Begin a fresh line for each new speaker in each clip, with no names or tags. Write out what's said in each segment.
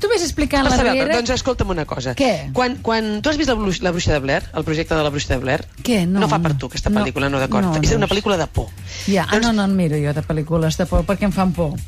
Tu m'has explicat la
Per saber,
Riera...
doncs escolta'm una cosa.
Què?
Quan, quan tu has vist la, Bru la Bruixa de Blair, el projecte de la Bruixa de Blair,
Què? No,
no fa per
no.
tu aquesta
No,
pel·lícula, no, d'acord.
no,
és
no.
una pel·lícula de por.
Ja,
doncs-
ah, no, no en miro jo de pel·lícules de por, perquè em fan por.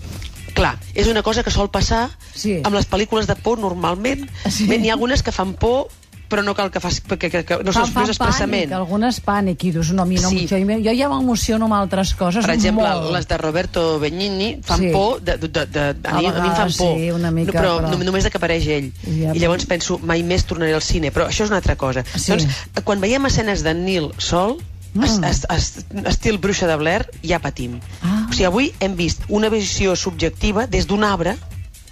Clar, és una cosa que sol passar
Sí. Ah,
amb les pel·lícules de por normalment.
Sí.
Bé, N'hi ha algunes que fan por, però no cal que, fas, que, que, que no
fan,
s'expressa
fan pànic,
expressament.
algunes pànic, i dius, no, a mi no,
Sí.
jo, jo ja m'emociono amb altres coses
per exemple,
molt.
les de Roberto Benigni fan
Sí.
por, de, de, de, de, a, mi, a mi em fan
vegades
por,
sí, una mica,
no, però,
però-
no- només de que apareix ell.
Ja.
I llavors penso, mai més tornaré al cine, però això és una altra cosa.
Sí.
Doncs, eh, quan veiem escenes de Neil sol,
Mm.
es, es, es, estil bruixa de Blair, ja patim.
Ah.
O sigui, avui hem vist una visió subjectiva des d'un arbre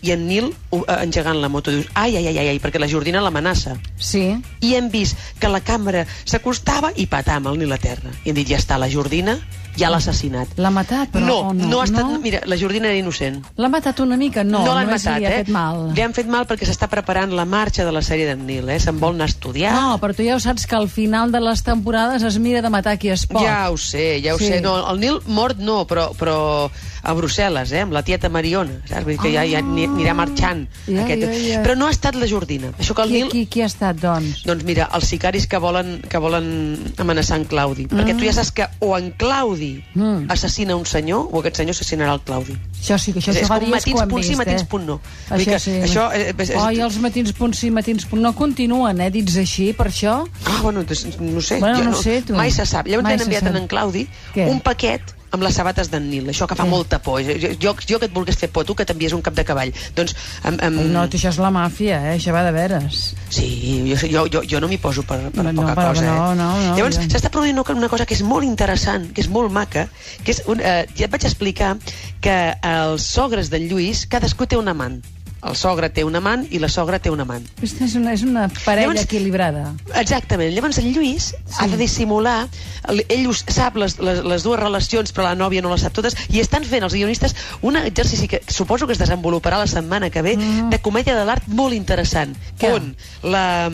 i en Neil uh, engegant la moto. Dius, ai, ai, ai, ai, ai, perquè la Jordina l'amenaça
Sí,
i hem vist que la càmera s'acostava i patam, el Nil a terra. I hem dit, ja està, la Jordina ja l'ha assassinat.
L'ha matat, però,
No,
o no?
no, ha estat...
No?
Mira, la Jordina era innocent.
l'ha matat una mica? No,
l'han
només
matat,
li ha
eh?
fet mal.
Li han fet mal perquè s'està preparant la marxa de la sèrie d'en Nil, eh? Se'n vol anar a estudiar.
No, però tu ja ho saps que al final de les temporades es mira de matar qui es pot.
Ja ho sé, ja ho
Sí.
sé. No, el Nil mort no, però, però a Brussel·les, eh, amb la tieta Mariona, saps? Vull dir que ja, ja ni- anirà marxant.
Ja,
aquest...
ja, ja.
Però no ha estat la Jordina. Això que el
Qui,
Nil...
qui, qui ha estat, doncs?
Doncs mira, els sicaris que volen, que volen amenaçar en Claudi. Mm. Perquè tu ja saps que o en Claudi
Mm.
mm. assassina un senyor o aquest senyor assassinarà el Claudi.
Això sí, que això
És- és
fa
com
dies
matins
que ho hem
punt sí,
vist,
matins
eh?
punt no. Vull dir
Això
que
sí.
això, eh, és- és-
Oi, els matins punt sí, matins punt no. Continuen, eh, dits així, per això?
Ah, bueno, doncs, no sé.
Bueno,
jo
no sé, tu.
Mai se sap. Llavors
Mai
t'han
se
enviat
sap.
en, en Claudi
Què?
un paquet amb les sabates d'en Nil, això que fa
Què?
molta por. Jo, jo, jo que et volgués fer por, tu que t'envies un cap de cavall. Doncs, amb, amb...
No, tu, això és la màfia, eh? Això va de veres.
Sí, jo, jo, jo, jo no m'hi poso per, per
No,
poca
però
cosa.
no, no,
eh?
no,
Llavors,
ja.
s'està produint una- una cosa que és molt interessant, que és molt maca, que és un, eh, ja et vaig explicar que els sogres d'en Lluís, cadascú té un amant. El sogre té un amant i la sogra té un amant.
Aquesta és una, és una parella
Llavors-
equilibrada.
Exactament. Llavors en Lluís sí. ha de dissimular, el- ell us- sap les, les, les dues relacions, però la nòvia no les sap totes, i estan fent els guionistes un exercici que suposo que es desenvoluparà la setmana que ve, mm. de comèdia de l'art molt interessant,
Què?
on la,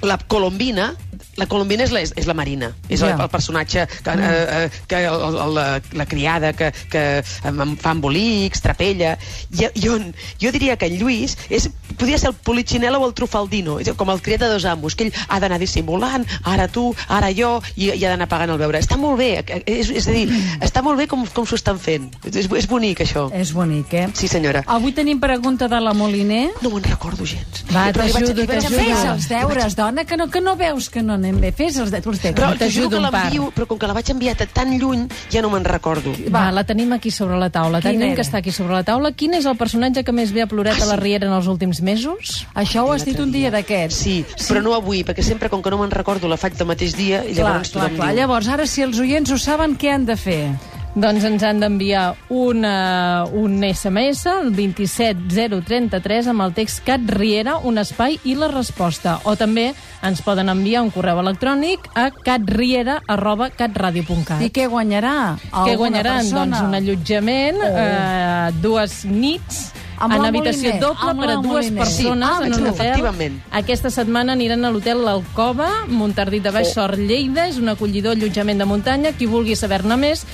la colombina la colombina és la, és, és la Marina, és
Ja.
el, el personatge que,
Mm.
eh, eh, que el, el, la, la criada que, que em em fa embolics, trapella, i, i on, jo diria que en Lluís és, podria ser el Polichinela o el Trufaldino, és a dir, com el criat de dos amos, que ell ha d'anar dissimulant, ara tu, ara jo, i, i ha d'anar pagant el beure. Està molt bé, eh, és, és a dir, està molt bé com, com s'ho estan fent. És, és bonic, això.
És bonic, Mm. eh?
Sí, senyora.
Avui tenim pregunta de la Moliner.
No me'n recordo gens.
Va,
Però li vaig-
t'ajudo,
li vaig
t'ajudo.
enviar-
Fes els deures, dona, que no, que no veus que no anem bé. Fes els deures, t'ajudo,
Però t'ajudo que
t'ajudo un par.
l'envio, però com que la vaig enviar de tan lluny, ja no me'n recordo.
Va, la tenim aquí sobre la taula.
Quina
Tenim
era? Ah,
que està aquí sobre la taula. Quin és el personatge que més ve a plorat a la Riera en els últims mesos?
Això ho has dit un dia d'aquests.
Sí, però no avui, perquè sempre com que no me'n recordo la faig del mateix dia i llavors
clar, clar,
tothom
clar.
diu...
Llavors, ara, si els oients ho saben, què han de fer?
Doncs ens han d'enviar un, eh, un SMS al 27033 amb el text Cat Riera, un espai i la resposta. O també ens poden enviar un correu electrònic a catriera arroba catradio.cat.
I què guanyarà?
Ah. Què
Alguna
guanyaran?
persona?
Doncs un allotjament,
Oh.
eh, dues nits,
Amb
en
la
habitació
Moliner,
doble
amb
per a
la
dues
Moliner.
persones
Sí,
en un
ah,
hotel.
efectivament.
Aquesta setmana aniran a l'hotel L'Alcova, Montardit de
Oh.
Baix Sort, Lleida. És un acollidor allotjament de muntanya. Qui vulgui saber-ne més,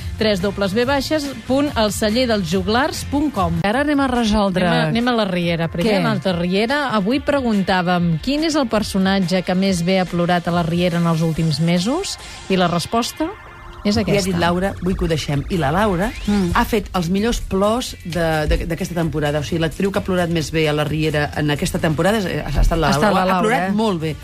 www.elcellerdeljuglars.com.
Ara anem a resoldre...
Anem a, anem a la Riera. Primer,
Què?
Què? a la Riera. Avui preguntàvem quin és el personatge que més bé ha plorat a la Riera en els últims mesos i la resposta és aquesta.
Li ha dit Laura, vull que ho deixem. I la Laura mm. ha fet els millors plors de- de- d'aquesta temporada. O sigui, l'actriu que ha plorat més bé a la Riera en aquesta temporada és- ha estat la
Ha
Laura.
estat la
Ha
Laura,
plorat
eh?
molt bé.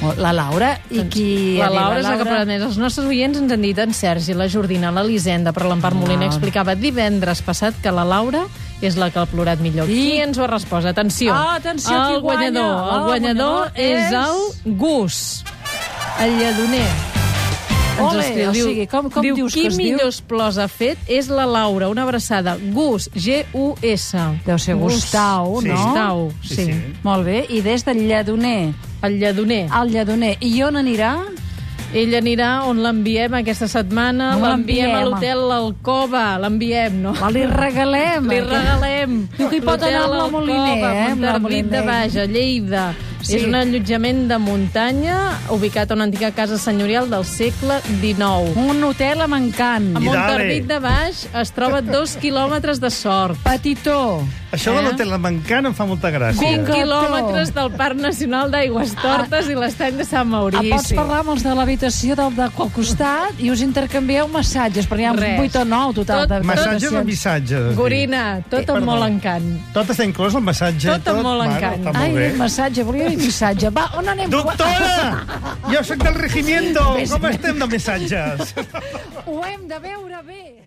Oh, La Laura i qui...
La Laura és la que parla més. Els nostres oients ens han dit en Sergi, la Jordina, l'Elisenda, però l'Empar Molina explicava divendres passat que la Laura és la que ha plorat millor. I... Qui ens ho ha respost? Atenció.
Ah, atenció,
el
qui guanya?
guanyador,
Ah,
el guanyador
el guanyador
és...
és
el Gus, el lledoner. Ens
Ole,
escriu,
o
diu,
sigui, com- com
diu,
dius
qui
que es diu?"
millors plors ha fet és la Laura, una abraçada. Gus, G-U-S.
Deu ser
Gus.
Gustau,
sí.
no?
Gustau, sí.
sí.
Molt bé, i des del Lledoner.
El lledoner.
Al Lledoner. I on anirà?
Ell anirà on l'enviem aquesta setmana,
On
l'enviem a
l'enviem?
l'hotel l'Alcova, l'enviem, no?
Va, li regalem.
Li regalem.
Diu que hi pot
L'hotel
anar amb la
Alcova,
Moliner, eh, amb la
Montardit
Moliner.
de Baix, a Lleida. Sí. És un allotjament de muntanya ubicat a una antiga casa senyorial del segle XIX.
Un hotel amb encant.
A
I
Montardit
dale.
de Baix es troba a dos quilòmetres de sort.
Petitó.
Això
Eh?
de l'hotel mancant em fa molta gràcia.
20
Vinga.
quilòmetres del Parc Nacional d'Aigües Tortes i l'estany de
Ah,
Sant Maurici.
pots parlar amb els de l'habitació del de al costat i us intercanvieu massatges, perquè hi ha
Res.
8 o 9 total
Tot-
de
Massatge o
habitacions.
missatge? has dit?
Gorina, tot
Perdó.
amb molt encant.
Tot està inclòs el massatge?
Tot amb molt
Bueno,
encant.
Està
Ai,
molt bé.
massatge, volia dir missatge. Va, on anem?
Doctora! Jo sóc del regimiento! Com estem de missatges?
Ho hem de veure bé.